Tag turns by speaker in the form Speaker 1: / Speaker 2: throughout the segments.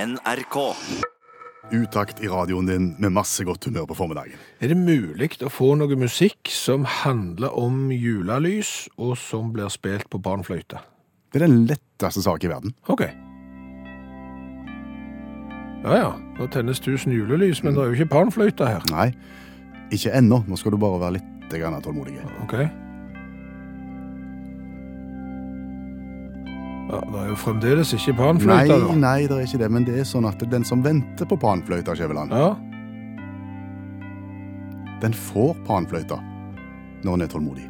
Speaker 1: NRK.
Speaker 2: Utakt i radioen din med masse godt humør på formiddagen.
Speaker 3: Er det mulig å få noe musikk som handler om julelys, og som blir spilt på barnfløyte?
Speaker 2: Det er den letteste saken i verden.
Speaker 3: OK. Ja ja, nå tennes tusen julelys, men det er jo ikke barnfløyte her.
Speaker 2: Nei, ikke ennå. Nå skal du bare være litt grann tålmodig.
Speaker 3: OK. Ja, det er jo fremdeles ikke
Speaker 2: Nei,
Speaker 3: barnfløyte, da.
Speaker 2: nei, det er ikke det, men det er sånn at den som venter på panfløyta, Skjæveland,
Speaker 3: Ja,
Speaker 2: den får panfløyta når en er tålmodig.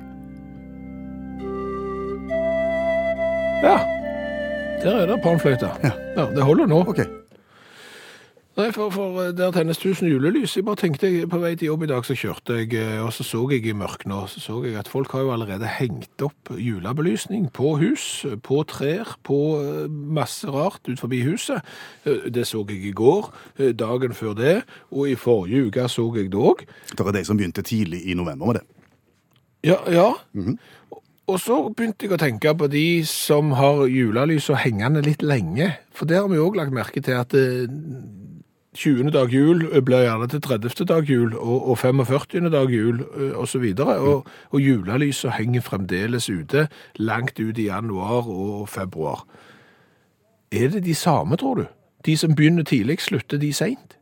Speaker 3: ja. Der er det barnfløyte.
Speaker 2: Ja.
Speaker 3: ja det holder nå.
Speaker 2: Ok,
Speaker 3: Nei, for, for eh, der tennes tusen julelys. Jeg bare tenkte jeg, På vei til jobb i dag så kjørte jeg, eh, og så så jeg i mørket nå så så jeg at folk har jo allerede hengt opp julebelysning på hus, på trær, på eh, masse rart ut forbi huset. Eh, Det så jeg i går, eh, dagen før det, og i forrige uke så jeg det òg.
Speaker 2: det er de som begynte tidlig i november med det.
Speaker 3: Ja, ja. Og så begynte jeg å tenke på de som har julelys og hengende litt lenge. For der har vi òg lagt merke til at eh, 20. dag jul eh, blir gjerne til 30. dag jul, og, og 45. dag jul eh, og så videre. Og, og julelyset henger fremdeles ute langt ut i januar og februar. Er det de samme, tror du? De som begynner tidlig, slutter de seint?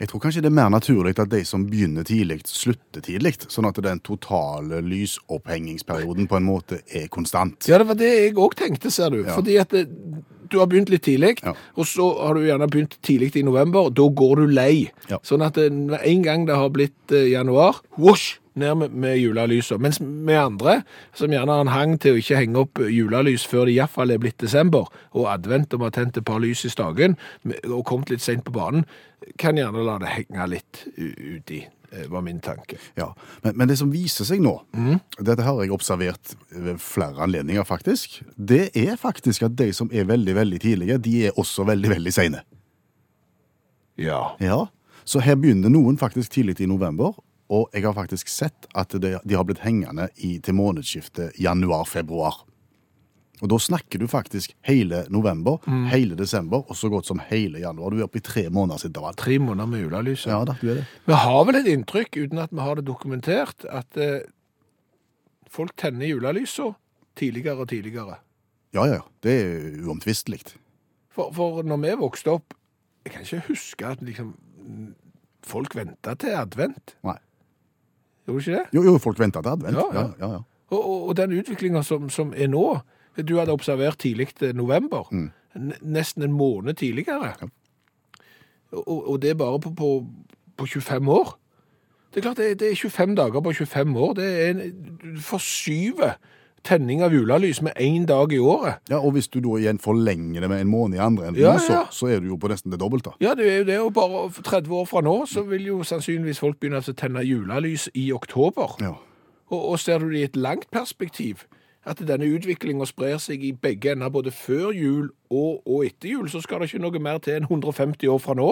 Speaker 2: Jeg tror kanskje det er mer naturlig at de som begynner tidlig, slutter tidlig, sånn at den totale lysopphengingsperioden på en måte er konstant.
Speaker 3: Ja, det var det jeg òg tenkte, ser du.
Speaker 2: Ja.
Speaker 3: Fordi at det, du har begynt litt tidlig,
Speaker 2: Ja.
Speaker 3: og så har du gjerne begynt tidlig i november. Da går du lei.
Speaker 2: Ja.
Speaker 3: Sånn at det- med en gang det har blitt eh, januar, whoosh, ned med, med julelysa. Mens vi andre, som gjerne har en hang til å ikke henge opp eh, julelys før det iallfall er blitt desember, og advent og vi har tent et par lys i stagen, og kommet litt seint på banen, kan gjerne la det henge litt u- uti, eh, var min tanke.
Speaker 2: Ja, men, men det som viser seg nå, dette har jeg observert ved flere anledninger faktisk, det er faktisk at de som er veldig, veldig tidlige, de er også veldig, veldig sene.
Speaker 3: Ja.
Speaker 2: Ja. Så her begynner noen faktisk tidlig i november, og jeg har faktisk sett at de, de har blitt hengende i, til månedsskiftet januar-februar. Og da snakker du faktisk hele november, hele desember, og så godt som hele januar. Du er oppe i tre måneders intervall.
Speaker 3: Tre måneder med julelys.
Speaker 2: Ja da, du er det.
Speaker 3: Vi har vel et inntrykk, uten at vi har det dokumentert, at eh, folk tenner julelysa tidligere og tidligere.
Speaker 2: Ja, ja, ja. Det er uomtvistelig.
Speaker 3: For, for når vi vokste opp, jeg kan ikke huske at liksom, folk venta til advent.
Speaker 2: Nei.
Speaker 3: Gjorde ikke det?
Speaker 2: Jo, jo, folk venter til advent.
Speaker 3: Ja, ja.
Speaker 2: ja, ja, ja.
Speaker 3: Og, og, og den utviklinga som, som er nå Du hadde observert tidlig til november. N- Nesten en måned tidligere.
Speaker 2: Mm. Ja.
Speaker 3: Og, og det er bare på, på, på 25 år. Det er klart, det, er- det er 25 dager på 25 år. Det er en, du forskyver tenning av julelys med én dag i året.
Speaker 2: Ja, og hvis du da igjen forlenger det med en måned i andre enden,
Speaker 3: Ja,
Speaker 2: nå, så,
Speaker 3: ja.
Speaker 2: så er du jo på nesten det dobbelte.
Speaker 3: Ja, det er jo det. Og bare 30 år fra nå så vil jo sannsynligvis folk begynne å tenne julelys i oktober.
Speaker 2: Ja.
Speaker 3: Og, og ser du det i et langt perspektiv, at denne utviklingen sprer seg i begge ender, både før jul og, og etter jul, så skal det ikke noe mer til enn 150 år fra nå,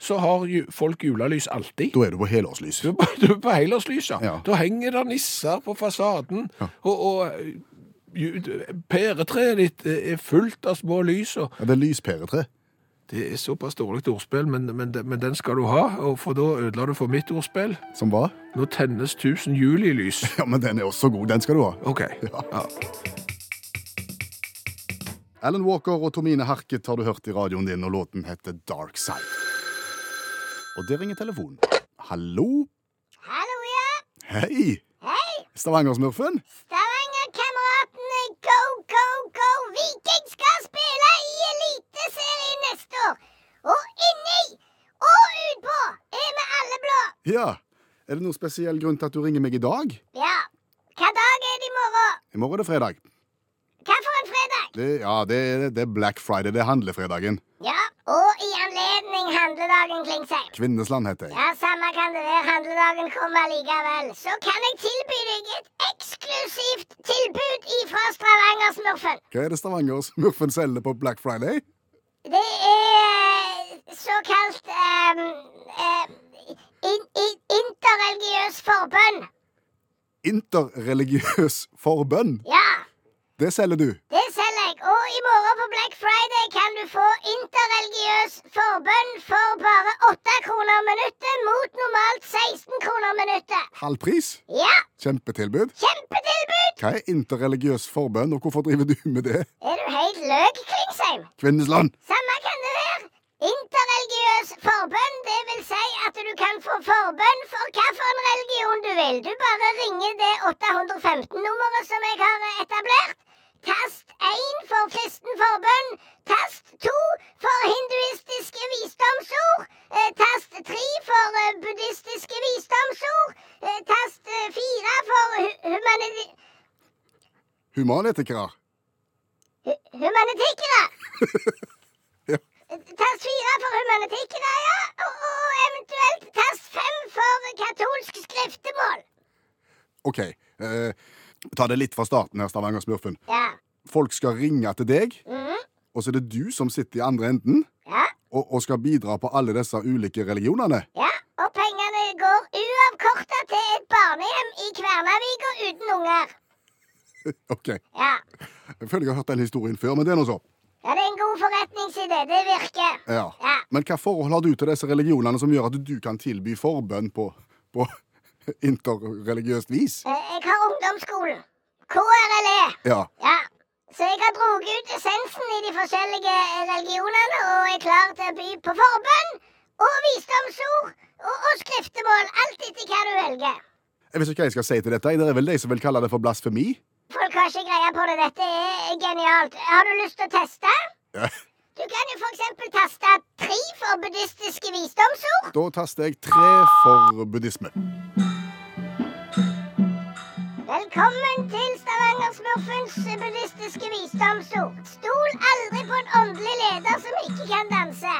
Speaker 3: så har ju, folk julelys alltid.
Speaker 2: Da er du på helårslys.
Speaker 3: Du er på- du er på helårslyset.
Speaker 2: Ja.
Speaker 3: Da henger det nisser på fasaden, og, og ju- pæretreet ditt eh, er fullt av små lys, og
Speaker 2: Ja, det er lyspæretre.
Speaker 3: det er såpass dårlig ordspill, men, men, men den skal du ha, og for da ødela du for mitt ordspill.
Speaker 2: Som hva?
Speaker 3: Nå tennes tusen jul i lys.
Speaker 2: Ja, men den er også god. Den skal du ha.
Speaker 3: Ok. Ja.
Speaker 2: Alan Walker og Tomine Harket har du hørt i radioen din, og låten heter Dark Side. Og der ringer telefonen. Hallo?
Speaker 4: Hallo, ja.
Speaker 2: Hei!
Speaker 4: Hei,
Speaker 2: Stavanger-smurfen?
Speaker 4: Stavanger-kameratene. Go, go, go. Viking skal spille i Eliteserien neste år. Og inni og utpå er vi alle blå.
Speaker 2: Ja. Er det noen spesiell grunn til at du ringer meg i dag?
Speaker 4: Ja. Hva dag er det i morgen?
Speaker 2: I morgen er det fredag.
Speaker 4: Hva for en fredag?
Speaker 2: Det, ja, det, er- det er Black Friday. Det er handlefredagen.
Speaker 4: Ja, og i anledning handledagen, Klingsheim.
Speaker 2: Kvinnesland heter jeg.
Speaker 4: Ja, samme kan det være. Handledagen kommer likevel. Så kan jeg tilby deg et eksklusivt tilbud ifra Stavanger-smurfen.
Speaker 2: Hva er det Stavanger-smurfen selger på Black Friday?
Speaker 4: Det er eh, såkalt um, in, in, interreligiøs forbønn.
Speaker 2: Interreligiøs forbønn.
Speaker 4: Ja,
Speaker 2: Det selger du.
Speaker 4: det selger jeg. Og i morgen på Black Friday kan du få interreligiøs religiøs forbønn for bare 8 kroner minuttet mot normalt 16 kroner minuttet.
Speaker 2: Halvpris?
Speaker 4: Ja,
Speaker 2: Kjempetilbud?
Speaker 4: kjempetilbud!
Speaker 2: Hva er interreligiøs forbønn, og hvorfor driver du med det?
Speaker 4: Er du helt løk, Klingsheim?
Speaker 2: Kvinnesland!
Speaker 4: Samme kan det være. Interreligiøs forbønn, det vil si at du kan få forbønn for hvilken religion du vil. Du bare ringer det 815-nummeret som jeg har etablert. Tast 1 for kristen forbønn. Tast 2 for hinduistiske visdomsord. Eh, Tast 3 for eh, buddhistiske visdomsord. Eh, Tast 4 for hu humaniti
Speaker 2: Humanetikere?
Speaker 4: hu- humanitikere.
Speaker 2: Ja.
Speaker 4: Tast fire for humanitikere, ja. Og, og eventuelt tast fem for katolsk skriftemål.
Speaker 2: OK. Eh, ta det litt fra starten her, Stavanger-smurfen.
Speaker 4: Ja.
Speaker 2: Folk skal ringe til deg,
Speaker 4: Mhm.
Speaker 2: og så er det du som sitter i andre enden
Speaker 4: ja.
Speaker 2: og, og skal bidra på alle disse ulike religionene.
Speaker 4: Ja. Og pengene går uavkorta til et barnehjem i Kvernavika uten unger.
Speaker 2: OK.
Speaker 4: Ja.
Speaker 2: Jeg føler jeg har hørt den historien før, men det er nå så.
Speaker 4: ja. Det er en god forretningsidé. Det virker.
Speaker 2: Ja.
Speaker 4: Ja.
Speaker 2: Men hva forhold har du til disse religionene som gjør at du kan tilby forbønn på, på interreligiøst vis?
Speaker 4: Eh, Jeg har ungdomsskolen. KRLE.
Speaker 2: Ja.
Speaker 4: Ja. Så jeg har drog ut essensen i de forskjellige religionene og er klar til å by på forbønn og visdomsord og, og skriftemål. Alt etter hva du velger.
Speaker 2: Jeg vet ikke hva jeg skal si til dette. Det er vel de som vil kalle det for blasfemi?
Speaker 4: Folk har ikke greie på det. Dette er genialt. Har du lyst til å teste?
Speaker 2: Ja.
Speaker 4: Du kan jo f.eks. taste tre for buddhistiske visdomsord.
Speaker 2: Da taster jeg tre for buddhisme.
Speaker 4: Velkommen til Stavangersmurfens buddhistiske visdomsord. Stol aldri på en åndelig leder som ikke kan danse.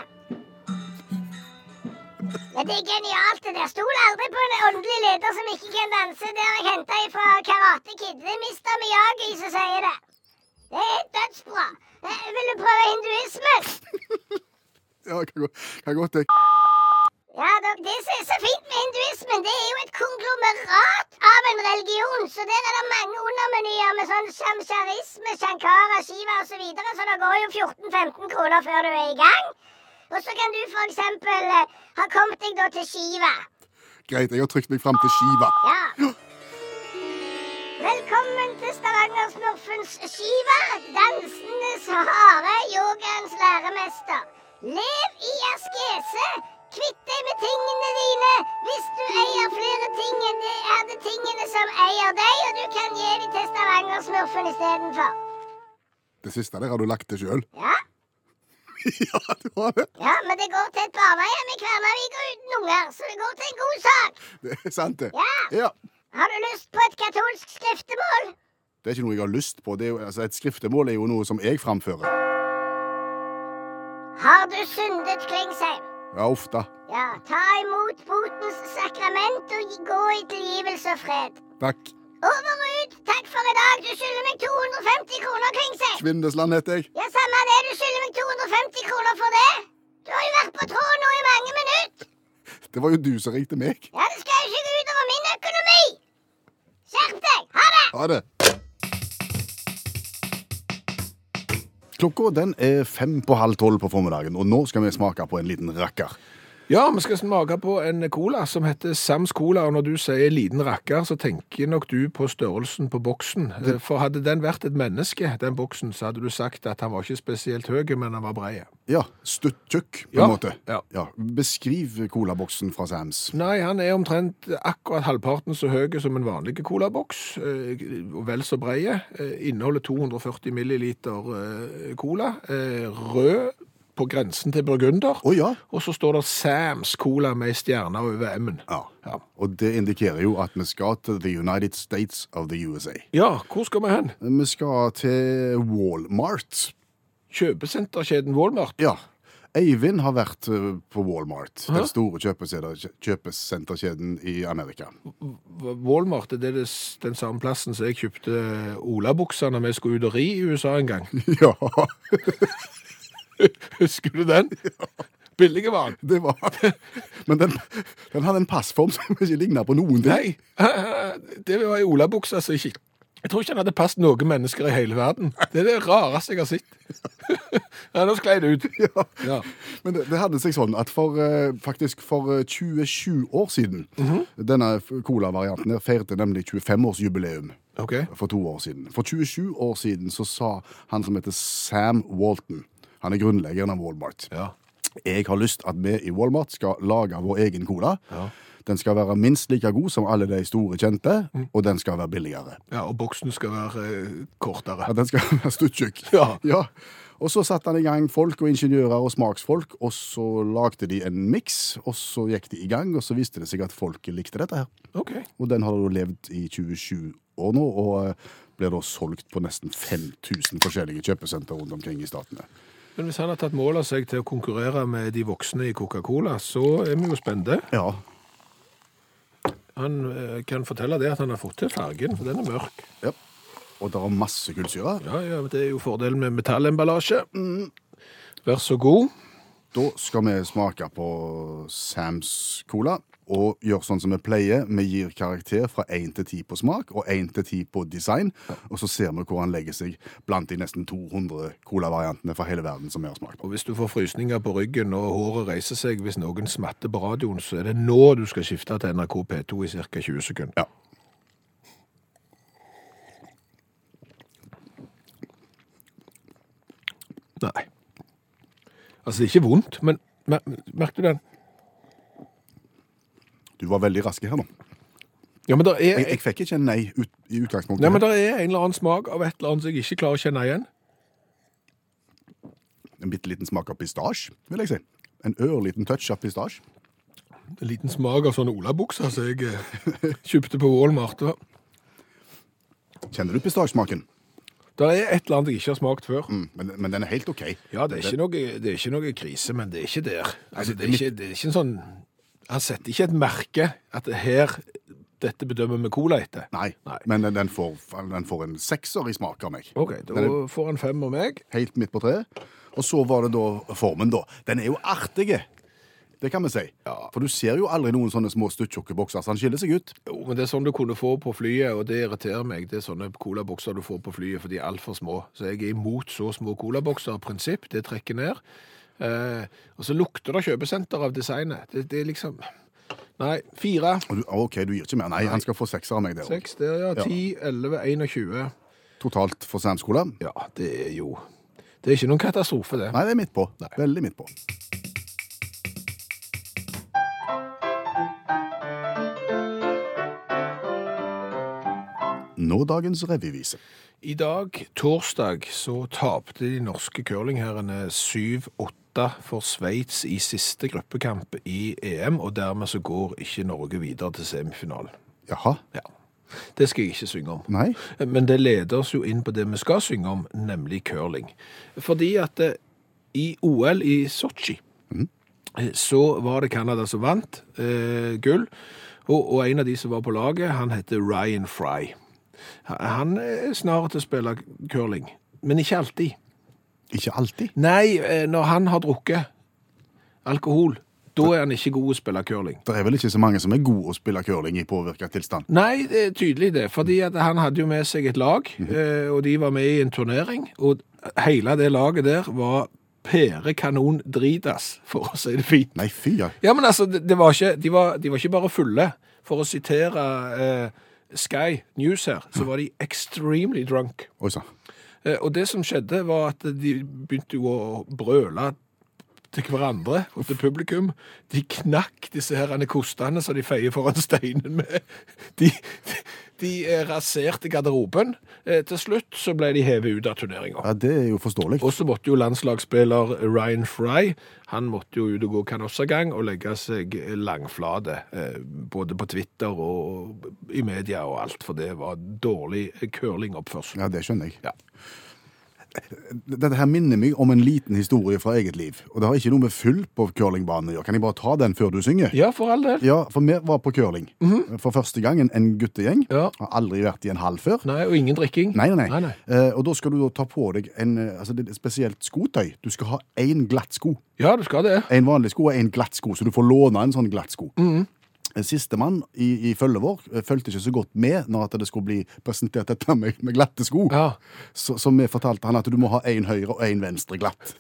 Speaker 4: Men det er genialt, det der. Stol aldri på en åndelig leder som ikke kan danse. Det har jeg henta ifra Karate Kid. Det er Mr. Miyagi som sier det. Det er dødsbra. Eh, Vil du prøve hinduismen?
Speaker 2: Ja, kan gå- kan godt det.
Speaker 4: Ja, dok, Det som er så fint med hinduismen, det er jo et konglomerat av en religion. Så der er det mange undermenyer med sånn shamsharisme, shankara, shiva osv. Så, videre, så det går jo 14-15 kroner før du er i gang. Og så kan du f.eks. Eh, ha kommet deg da til Shiva.
Speaker 2: Greit, jeg har trykt meg fram til Shiva.
Speaker 4: Ja. Velkommen til Stavanger-smurfens Shiva, dansenes hare, yogaens læremester. Lev i askese. Kvitt deg med tingene dine. Hvis du eier flere ting enn det er det tingene som eier deg, og du kan gi dem til Stavanger-smurfen istedenfor.
Speaker 2: Det siste der har du lagt til sjøl.
Speaker 4: Ja?
Speaker 2: ja, du har det.
Speaker 4: ja, men det går til et barnehjem i Kvernavik og uten unger, så det går til en god sak.
Speaker 2: Det er sant, det.
Speaker 4: Ja.
Speaker 2: ja.
Speaker 4: Har du lyst på et katolsk skriftemål?
Speaker 2: Det er ikke noe jeg har lyst på. Det er jo, altså, et skriftemål er jo noe som jeg framfører.
Speaker 4: Har du syndet, Klingsheim?
Speaker 2: Ja, ofte.
Speaker 4: Ja, ta imot botens sakrament og gi- gå i tilgivelse og fred.
Speaker 2: Takk.
Speaker 4: Over og ut. Takk for i dag. Du skylder meg 250 kroner, Klingsheim.
Speaker 2: Kvinnesland heter jeg.
Speaker 4: Ja, samme det. Du skylder meg 250 kroner for det. Du har jo vært på tråden nå i mange minutter.
Speaker 2: Det var jo du som ringte meg.
Speaker 4: Ja, det skal jo ikke gå utover min økonomi. Skjerp deg. Ha det.
Speaker 2: Ha det. Klokka den er fem på halv tolv på formiddagen, og nå skal vi smake på en liten rakker.
Speaker 3: Ja, vi skal smake på en cola som heter Sams Cola, og når du sier liten rakker, så tenker nok du på størrelsen på boksen. Eh, For hadde den vært et menneske, den boksen, så hadde du sagt at han var ikke spesielt høy, men han var brei.
Speaker 2: Ja, stutt tjukk, på en
Speaker 3: Ja,
Speaker 2: måte.
Speaker 3: ja.
Speaker 2: Beskriv colaboksen fra Sams.
Speaker 3: Nei, han er omtrent akkurat halvparten så høy som en vanlig colaboks, eh, og vel så breie. Eh, Inneholder 240 milliliter eh, cola, eh, rød på grensen til burgunder,
Speaker 2: Å ja.
Speaker 3: og så står det Sams Cola med stjerner over M-en.
Speaker 2: ja.
Speaker 3: Ja.
Speaker 2: Og det indikerer jo at vi skal til The United States of the USA.
Speaker 3: ja, hvor skal vi hen?
Speaker 2: Vi skal til Walmart.
Speaker 3: Kjøpesenterkjeden Walmart.
Speaker 2: Ja. Eivind har vært eh, på Walmart,
Speaker 3: Hæ?
Speaker 2: den store kjøpeseder- kjøpesenterkjeden i Amerika.
Speaker 3: Walmart det er det s- den samme plassen som jeg kjøpte olabuksene når vi skulle ut og ri i USA en gang.
Speaker 2: Ja,
Speaker 3: Husker du den? Billige var den.
Speaker 2: det var Men den, den hadde en passform som ikke ligna på noen ting.
Speaker 3: Nei, det var ei olabukse som ikke Jeg tror ikke han hadde passet noen mennesker i hele verden. Det er det rareste jeg har sett. ja, nå sklei det ut.
Speaker 2: Ja.
Speaker 3: Ja.
Speaker 2: Men det, det hadde seg sånn at for, eh, faktisk for eh, 27 år siden Denne f- cola-varianten der feirte nemlig 25-årsjubileum
Speaker 3: OK.
Speaker 2: for to år siden. For 27 år siden så sa han som heter Sam Walton Han er grunnleggeren av Walmart.
Speaker 3: Ja.
Speaker 2: Jeg har lyst at vi i Walmart skal lage vår egen cola. Den skal være minst like god som alle de store kjente, og den skal være billigere.
Speaker 3: ja, og boksen skal være eh, kortere.
Speaker 2: At den skal være stuttjukk.
Speaker 3: Ja.
Speaker 2: ja. Og så satte han i gang folk og ingeniører og smaksfolk, og så lagde de en miks, og så gikk de i gang, og så viste det seg at folket likte dette her.
Speaker 3: OK.
Speaker 2: Og den har da levd i 27 år nå, og eh, blir da solgt på nesten 5000 forskjellige kjøpesenter rundt omkring i statene.
Speaker 3: Men hvis han har tatt mål av seg til å konkurrere med de voksne i Coca-Cola, så er vi jo spente.
Speaker 2: Ja,
Speaker 3: Han eh, kan fortelle det at han har fått til fargen, for den er mørk.
Speaker 2: ja. Og det er masse kullsyre.
Speaker 3: Ja, ja, men Det er jo fordelen med metallemballasje. Vær så god.
Speaker 2: Da skal vi smake på Sams cola, og gjøre sånn som vi pleier. Vi gir karakter fra 1 til 10 på smak, og 1 til 10 på design, og så ser vi hvor han legger seg blant de nesten 200 colavariantene fra hele verden som vi har smakt på.
Speaker 3: Og hvis du får frysninger på ryggen og håret reiser seg hvis noen smatter på radioen, så er det nå du skal skifte til NRK P2 i ca. 20 sekunder.
Speaker 2: Ja.
Speaker 3: Nei. Altså, det er ikke vondt, men mer- merker du den?
Speaker 2: Du var veldig rask her nå.
Speaker 3: Ja, men det er,
Speaker 2: Jeg, jeg fikk ikke en nei ut, i utgangspunktet.
Speaker 3: nei, men der er en eller annen smak av et eller annet som jeg ikke klarer å kjenne igjen.
Speaker 2: En bitte liten smak av pistasje, vil jeg si. En ørliten touch av pistasje.
Speaker 3: En liten smak av sånne olabukser som jeg eh, kjøpte på Walmart. Det
Speaker 2: Kjenner du pistasjesmaken?
Speaker 3: er et eller annet jeg ikke har smakt før.
Speaker 2: Mm, men, men den er helt OK.
Speaker 3: Ja, det er, ikke noe, det er ikke noe krise, men det er ikke der. Altså, det,
Speaker 2: det
Speaker 3: er
Speaker 2: er
Speaker 3: ikke, det er ikke en sånn Han setter ikke et merke at det her Dette bedømmer vi cola etter.
Speaker 2: Nei,
Speaker 3: Nei.
Speaker 2: men den- den får, den får en sekser i smak av meg.
Speaker 3: OK,
Speaker 2: Den
Speaker 3: da
Speaker 2: er-
Speaker 3: får han fem av meg.
Speaker 2: helt midt på treet. Og så var det da formen, da. Den er jo artig! Det kan vi si.
Speaker 3: Ja.
Speaker 2: For du ser jo aldri noen sånne små stuttjukke bokser, så han skiller seg ut.
Speaker 3: Jo, men det er sånn du kunne få på flyet, og det irriterer meg. Det er sånne colabokser du får på flyet, for de er altfor små. Så jeg er imot så små colabokser av prinsipp. Det trekker ned. Eh, og så lukter det kjøpesenter av designet. Det, det er liksom Nei. Fire,
Speaker 2: Og du, OK, du gir ikke mer. Nei, han skal få sekser av meg der òg.
Speaker 3: seks der, ja.
Speaker 2: Ja.
Speaker 3: Ti, elleve, 21.
Speaker 2: Totalt for Sams Cola. Nei,
Speaker 3: Ja, det er jo Det er ikke noen katastrofe, det.
Speaker 2: det er midt på. Veldig midt på. Nå dagens revyvise.
Speaker 3: I dag, torsdag, så tapte de norske curlingherrene 7-8 for Sveits i siste gruppekamp i EM, og dermed så går ikke Norge videre til semifinalen.
Speaker 2: Jaha?
Speaker 3: Ja. Det skal jeg ikke synge om.
Speaker 2: Nei?
Speaker 3: Men det leder oss jo inn på det vi skal synge om, nemlig curling. Fordi at eh, i OL i Sotsji eh, så var det Canada som vant eh, gull, og, og en av de som var på laget, han heter Ryan Fry. Han- Han er snarere til å spille curling, men ikke alltid.
Speaker 2: Ikke alltid.
Speaker 3: Nei, eh, når han har drukket alkohol, da er han ikke god å spille curling.
Speaker 2: Det er vel ikke så mange som er gode å spille curling i påvirka tilstand.
Speaker 3: Nei, det er tydelig det. Fordi at han hadde jo med seg et lag, eh, og de var med i en turnering. Og hele det laget der var pærekanon dritas, for å si det fint.
Speaker 2: Nei, fy ja.
Speaker 3: Ja, men altså, det, det var ikke, de, var, de var ikke bare fulle. For å sitere eh, Sky News her, så var de extremely drunk.
Speaker 2: Oi sann.
Speaker 3: Eh, Og det som skjedde var at de begynte jo å brøle til hverandre og til publikum. De knakk disse herrene kostene som de feier foran steinen med. De, de, de eh, raserte garderoben. Eh, Til slutt så ble de hevet ut av turneringa.
Speaker 2: Ja, det er jo forståelig.
Speaker 3: Og så måtte jo landslagsspiller Ryan Fry han måtte jo ut og gå kanossagang og legge seg langflate. eh, Både på Twitter og i media og alt, for det var dårlig curlingoppførsel.
Speaker 2: Ja, det skjønner jeg.
Speaker 3: Ja.
Speaker 2: Dette her minner meg om en liten historie fra eget liv. Og det har ikke noe med fyll på curlingbanen å gjøre. Kan jeg bare ta den før du synger?
Speaker 3: Ja, for all del.
Speaker 2: Ja, for vi var på curling for første gang. En, en guttegjeng.
Speaker 3: Ja.
Speaker 2: Har aldri vært i en hall før.
Speaker 3: Nei, og ingen drikking.
Speaker 2: Nei, nei, nei.
Speaker 3: Nei, nei.
Speaker 2: Eh, og da skal du da ta på deg en, eh, altså, det er et spesielt skotøy. Du skal ha én glatt sko.
Speaker 3: Ja, du skal det.
Speaker 2: En vanlig sko og en glatt sko, så du får låne en sånn glatt sko. Sistemann i, i følget vår eh, fulgte ikke så godt med når at det skulle bli presentert dette med, med glatte sko.
Speaker 3: Ja.
Speaker 2: Så, så vi fortalte han at du må ha én høyre og én venstre glatt.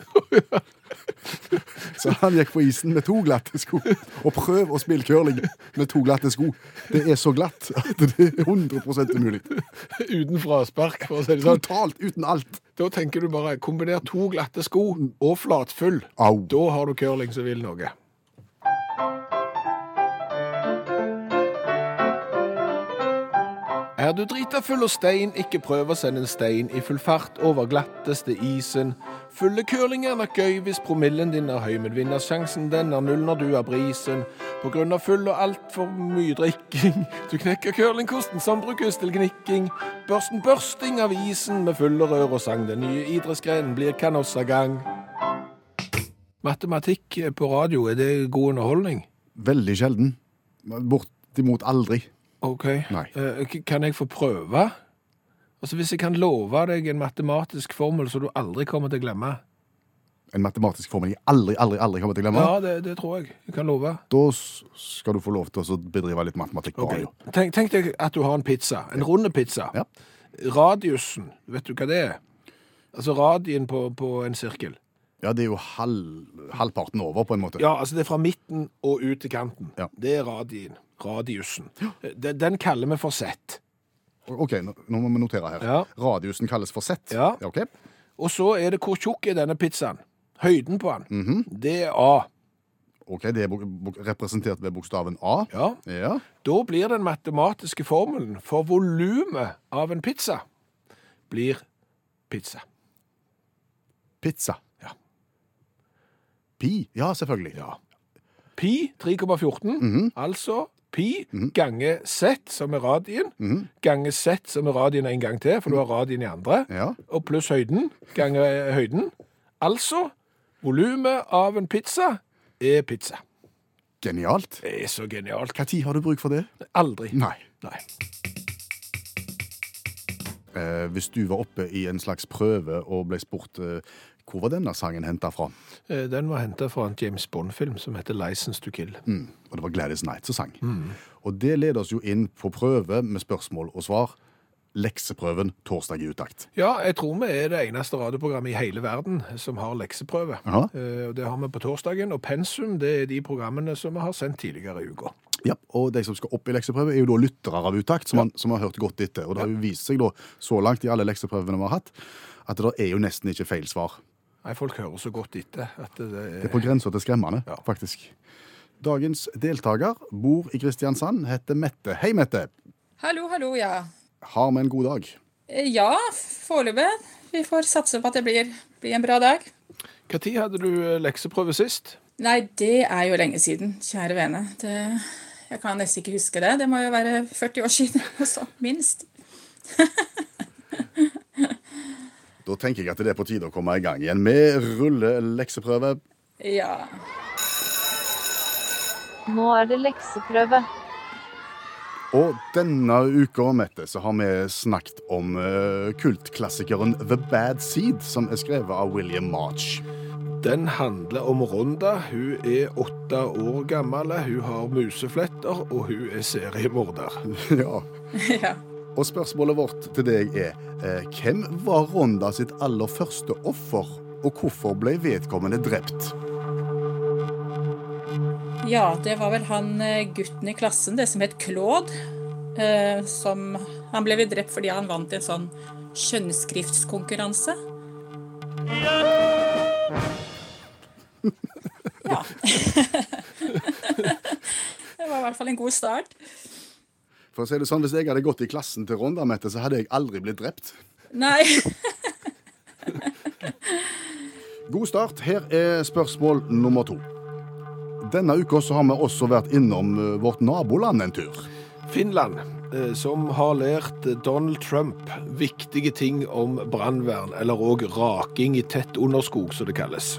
Speaker 2: så han gikk på isen med to glatte sko. Og prøv å spille curling med to glatte sko. Det er så glatt at det er 100 umulig.
Speaker 3: Uten fraspark, for å si det sånn.
Speaker 2: Totalt uten alt.
Speaker 3: Da tenker du bare kombiner to glatte sko og flatfull.
Speaker 2: Au.
Speaker 3: Da har du curling som vil noe. Er du drita full av stein, ikke prøv å sende en stein i full fart over glatteste isen. Fulle curling er nok gøy hvis promillen din er høy, men vinnersjansen den er null når du er brisen. På grunn av full og altfor mye drikking. Du knekker curlingkosten som brukes til gnikking. Børsten børsting av isen med fulle rør og sang. Den nye idrettsgrenen blir kanossagang. Matematikk eh, på radio, er det god underholdning?
Speaker 2: Veldig sjelden. Bortimot aldri.
Speaker 3: Ok.
Speaker 2: Nei.
Speaker 3: Eh, k- kan jeg få prøve? Altså, hvis jeg kan love deg en matematisk formel som du aldri kommer til å glemme.
Speaker 2: En matematisk formel jeg aldri, aldri, aldri kommer til å glemme.
Speaker 3: Ja, det, det tror jeg. Jeg kan love.
Speaker 2: Da s- skal du få lov til å bedrive litt matematikk på radio.
Speaker 3: Tenk, tenk deg at du har en pizza. En runde pizza.
Speaker 2: Ja.
Speaker 3: Radiusen, vet du hva det er? Altså radien på, på en sirkel.
Speaker 2: Ja, det er jo halv, halvparten over, på en måte.
Speaker 3: Ja, altså det er fra midten og ut til kanten.
Speaker 2: Ja.
Speaker 3: Det er radien. Radiusen. Eh, Den, den kaller vi for sett.
Speaker 2: OK, nå, nå må vi notere her.
Speaker 3: Ja.
Speaker 2: Radiusen kalles for sett.
Speaker 3: Ja.
Speaker 2: ok.
Speaker 3: Og så er det hvor tjukk er denne pizzaen? Høyden på den.
Speaker 2: Mhm.
Speaker 3: Det er A.
Speaker 2: Ok, Det er bok- bok- representert ved bokstaven A.
Speaker 3: Ja.
Speaker 2: Ja.
Speaker 3: Da blir den matematiske formelen for volumet av en pizza blir pizza.
Speaker 2: Pizza.
Speaker 3: Ja.
Speaker 2: Pi. Ja, selvfølgelig.
Speaker 3: Ja. Pi 3,14,
Speaker 2: Mhm.
Speaker 3: altså pi gange z, som er radien,
Speaker 2: Mhm.
Speaker 3: gange z, som er radien en gang til, for du har radien i andre,
Speaker 2: Ja.
Speaker 3: og pluss høyden, gange eh, høyden. Altså, volumet av en pizza er pizza.
Speaker 2: Genialt.
Speaker 3: Det er så genialt.
Speaker 2: Når har du bruk for det?
Speaker 3: Aldri.
Speaker 2: Nei.
Speaker 3: Nei.
Speaker 2: Eh, hvis du var oppe i en slags prøve og ble spurt eh, hvor var denne sangen henta fra,
Speaker 3: Eh, Den var hentet fra en James Bond-film som heter License to Kill.
Speaker 2: mm. og det var Gladys Knight som sang Og det leder oss jo inn på prøve med spørsmål og svar. Lekseprøven torsdag i utakt.
Speaker 3: Ja, jeg tror vi er det eneste radioprogrammet i hele verden som har lekseprøve.
Speaker 2: Aha.
Speaker 3: Eh, og Det har vi på torsdagen, og pensum det er de programmene som vi har sendt tidligere i uka.
Speaker 2: Ja, og de som skal opp i lekseprøve, er jo da lyttere av utakt, som, han- som har hørt godt etter. Og det har jo vist seg da, så langt i alle lekseprøvene vi har hatt, at det er jo nesten ikke feil svar.
Speaker 3: Nei, folk hører så godt etter at det
Speaker 2: Det er på grensa til skremmende,
Speaker 3: Ja.
Speaker 2: faktisk. Dagens deltaker bor i Kristiansand, heter Mette. Hei, Mette.
Speaker 1: Hallo, hallo, ja.
Speaker 2: Har vi en god dag?
Speaker 1: Eh, Ja, foreløpig. Vi får satse på at det blir, blir en bra dag.
Speaker 3: Når hadde du eh, lekseprøve sist?
Speaker 1: Nei, det er jo lenge siden, kjære vene. Det, jeg kan nesten ikke huske det. Det må jo være 40 år siden, og så minst.
Speaker 2: Da tenker jeg at det er på tide å komme i gang igjen med rullelekseprøve.
Speaker 1: Ja.
Speaker 5: Nå er det lekseprøve.
Speaker 2: Og denne uka, Mette, så har vi snakket om eh, kultklassikeren The Bad Seed, som er skrevet av William March.
Speaker 3: Den handler om Ronda. Hun er åtte år gammel, hun har musefletter, og hun er seriemorder.
Speaker 2: ja.
Speaker 1: ja.
Speaker 2: Og spørsmålet vårt til deg er eh, Hvem var Ronda sitt aller første offer, og hvorfor ble vedkommende drept?
Speaker 1: Ja, det var vel han eh, gutten i klassen, det som het Claude, eh, som Han ble vel drept fordi han vant en sånn skjønnskriftskonkurranse. Ja. det var i hvert fall en god start.
Speaker 2: For å si det sånn, Hvis jeg hadde gått i klassen til Ronda, Mette, så hadde jeg aldri blitt drept.
Speaker 1: Nei.
Speaker 2: God start. Her er spørsmål nummer to. Denne uka så har vi også vært innom eh, vårt naboland en tur.
Speaker 3: Finland, eh, som har lært Donald Trump viktige ting om brannvern, eller òg raking i tett underskog, som det kalles.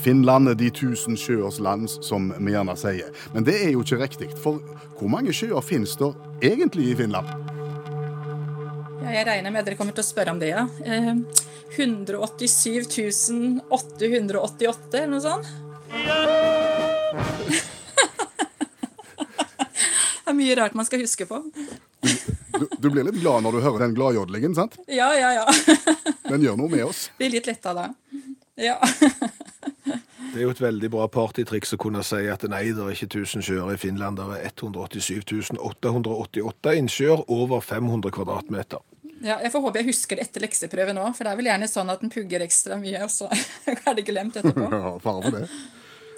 Speaker 2: Finland er de tusen sjøers land, som vi gjerne sier. Men det er jo ikke riktig, for hvor mange sjøer finnes det egentlig i Finland?
Speaker 1: Ja, jeg regner med dere kommer til å spørre om det, ja. Eh, 187 888, eller noe sånt? er mye rart man skal huske på.
Speaker 2: Du, du blir litt glad når du hører den gladjodlingen, sant?
Speaker 1: Ja, ja, ja.
Speaker 2: Den gjør noe med oss.
Speaker 1: Blir litt letta da. Ja.
Speaker 3: Det er jo et veldig bra partytriks å kunne si at nei, det er ikke 1000 sjøer i Finland, det er 187 888 innsjøer over 500 kvadratmeter.
Speaker 1: ja. Jeg får håpe jeg husker det etter lekseprøven òg, for det er vel gjerne sånn at den pugger ekstra mye, og så er det glemt etterpå.
Speaker 2: Ja, fare for det.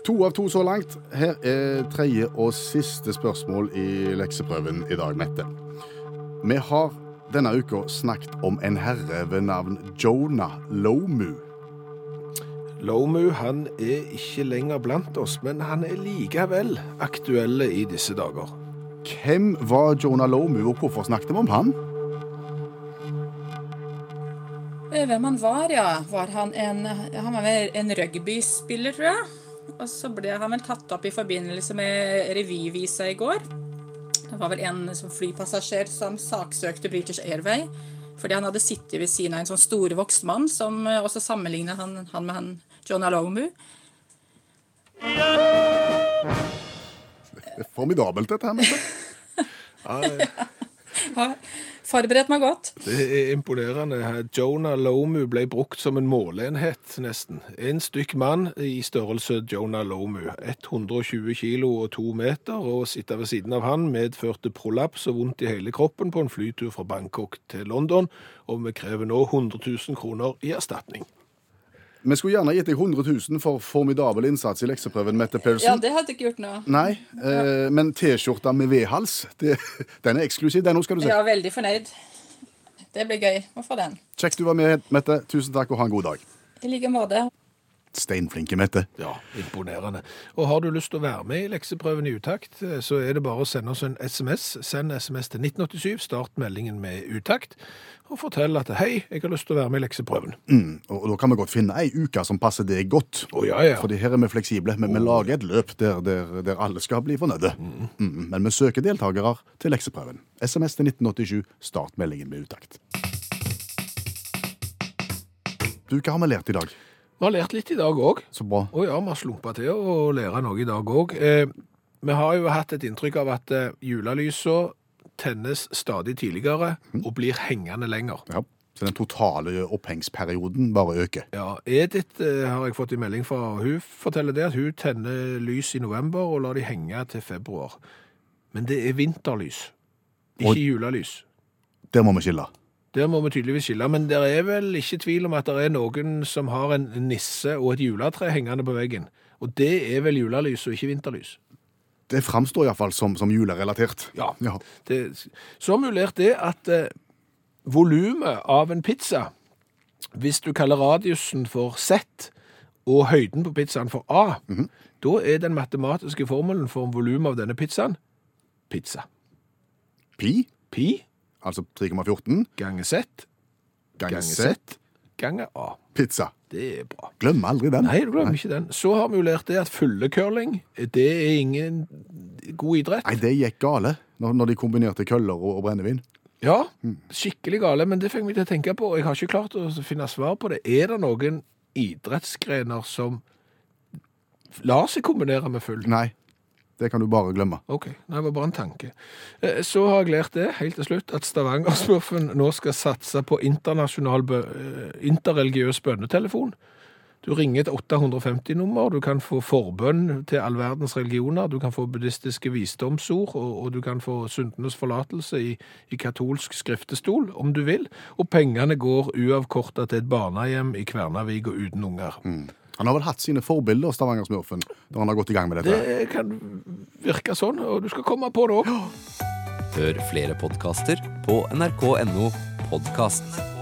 Speaker 2: To av to så langt. Her er tredje og siste spørsmål i lekseprøven i dag, Mette. Vi har denne uka snakket om en herre ved navn Jonah Lomu.
Speaker 3: Lomu han er ikke lenger blant oss, men han er likevel aktuelle i disse dager.
Speaker 2: Hvem var Jonah Lomu, og hvorfor snakket vi om han?
Speaker 1: Eh, Hvem han var, ja. Var han, en, han var vel en rugbyspiller, tror jeg. Og så ble han vel tatt opp i forbindelse med revyvisa i går. Det var vel en sånn flypassasjer som saksøkte British Airway fordi han hadde sittet ved siden av en sånn storvokst mann som eh, også sammenlignet han, han med han John Alomu.
Speaker 2: Det er formidabelt, dette her. Mette.
Speaker 1: Har forberedt meg godt.
Speaker 3: Det er imponerende. Jonah Lomu ble brukt som en måleenhet, nesten. En stykk mann i størrelse Jonah Lomu. 120 kilo og to meter, og å sitte ved siden av han medførte prolaps og vondt i hele kroppen på en flytur fra Bangkok til London, og vi krever nå 100 000 kroner i erstatning.
Speaker 2: Vi skulle gjerne gitt deg 100 000 for formidabel innsats i lekseprøven, Mette Paulsen.
Speaker 1: Ja, det hadde jeg ikke gjort nå.
Speaker 2: Nei, eh, men T-skjorta med V-hals, det- den er eksklusiv. Den nå skal du se.
Speaker 1: Jeg var veldig fornøyd. Det blir gøy å få den.
Speaker 2: Kjekt du var med, Mette. Tusen takk, og ha en god dag.
Speaker 1: I like måte.
Speaker 2: Steinflinke, Mette.
Speaker 3: Ja, imponerende. Og har du lyst til å være med i lekseprøven i utakt, så er det bare å sende oss en SMS. Send SMS til 1987, start meldingen med utakt, og fortell at hei, jeg har lyst til å være med i lekseprøven. Å
Speaker 2: Og og da kan vi godt finne ei uke som passer deg godt.
Speaker 3: ja, ja.
Speaker 2: Fordi her er vi fleksible, men vi lager et løp der, der, der alle skal bli fornøyde. Mm, Men vi søker deltakere til lekseprøven. SMS til 1987, start meldingen med utakt. Du, hva har vi lært i dag?
Speaker 3: Vi har lært litt i dag òg.
Speaker 2: Så bra.
Speaker 3: Å ja, vi har slumpa til å lære noe i dag òg. Eh, vi har jo hatt et inntrykk av at eh, julelysa tennes stadig tidligere og blir hengende lenger.
Speaker 2: Ja. Så den totale opphengsperioden bare øker.
Speaker 3: Ja, Edith eh, har jeg fått en melding fra. Hun forteller det at hun tenner lys i november og lar de henge til februar. Men det er vinterlys, ikke
Speaker 2: Og-
Speaker 3: julelys.
Speaker 2: Der må vi skille.
Speaker 3: Der må vi tydeligvis skille, men det er vel ikke tvil om at det er noen som har en nisse og et juletre hengende på veggen. Og det er vel julelys og ikke vinterlys.
Speaker 2: Det framstår iallfall som, som julerelatert.
Speaker 3: Ja.
Speaker 2: ja.
Speaker 3: Det, så har vi jo lært det at eh, volumet av en pizza, hvis du kaller radiusen for Z og høyden på pizzaen for A,
Speaker 2: Mhm.
Speaker 3: da er den matematiske formelen for volumet av denne pizzaen pizza.
Speaker 2: Pi,
Speaker 3: Pi
Speaker 2: altså 3,14,
Speaker 3: ganger Z
Speaker 2: ganger
Speaker 3: ganger
Speaker 2: Z,
Speaker 3: Z ganger A.
Speaker 2: pizza.
Speaker 3: Det er bra.
Speaker 2: Glem aldri den.
Speaker 3: Nei, du glemmer ikke den. Så har vi jo lært det at fullekørling, det er ingen god idrett.
Speaker 2: Nei, det gikk gale når, når de kombinerte køller og, og brennevin.
Speaker 3: Ja, skikkelig gale, men det fikk meg til å tenke på, og jeg har ikke klart å finne svar på det. Er det noen idrettsgrener som lar seg kombinere med full?
Speaker 2: Nei, det kan du bare glemme.
Speaker 3: Ok, nei, det var bare en tanke. Eh, Så har jeg lært det, helt til slutt, at Stavanger-smurfen nå skal satse på internasjonal, bø- eh, interreligiøs bønnetelefon. Du ringer et 850-nummer, du kan få forbønn til all verdens religioner, du kan få buddhistiske visdomsord, og, og du kan få syndenes forlatelse i, i katolsk skriftestol, om du vil, og pengene går uavkorta til et barnehjem i Kvernavik og uten unger.
Speaker 2: Han har vel hatt sine forbilder, Stavanger-smurfen, når han har gått i gang med dette.
Speaker 3: Det kan virke sånn, og du skal komme på det òg.
Speaker 6: Hør flere podkaster på nrk.no podkast.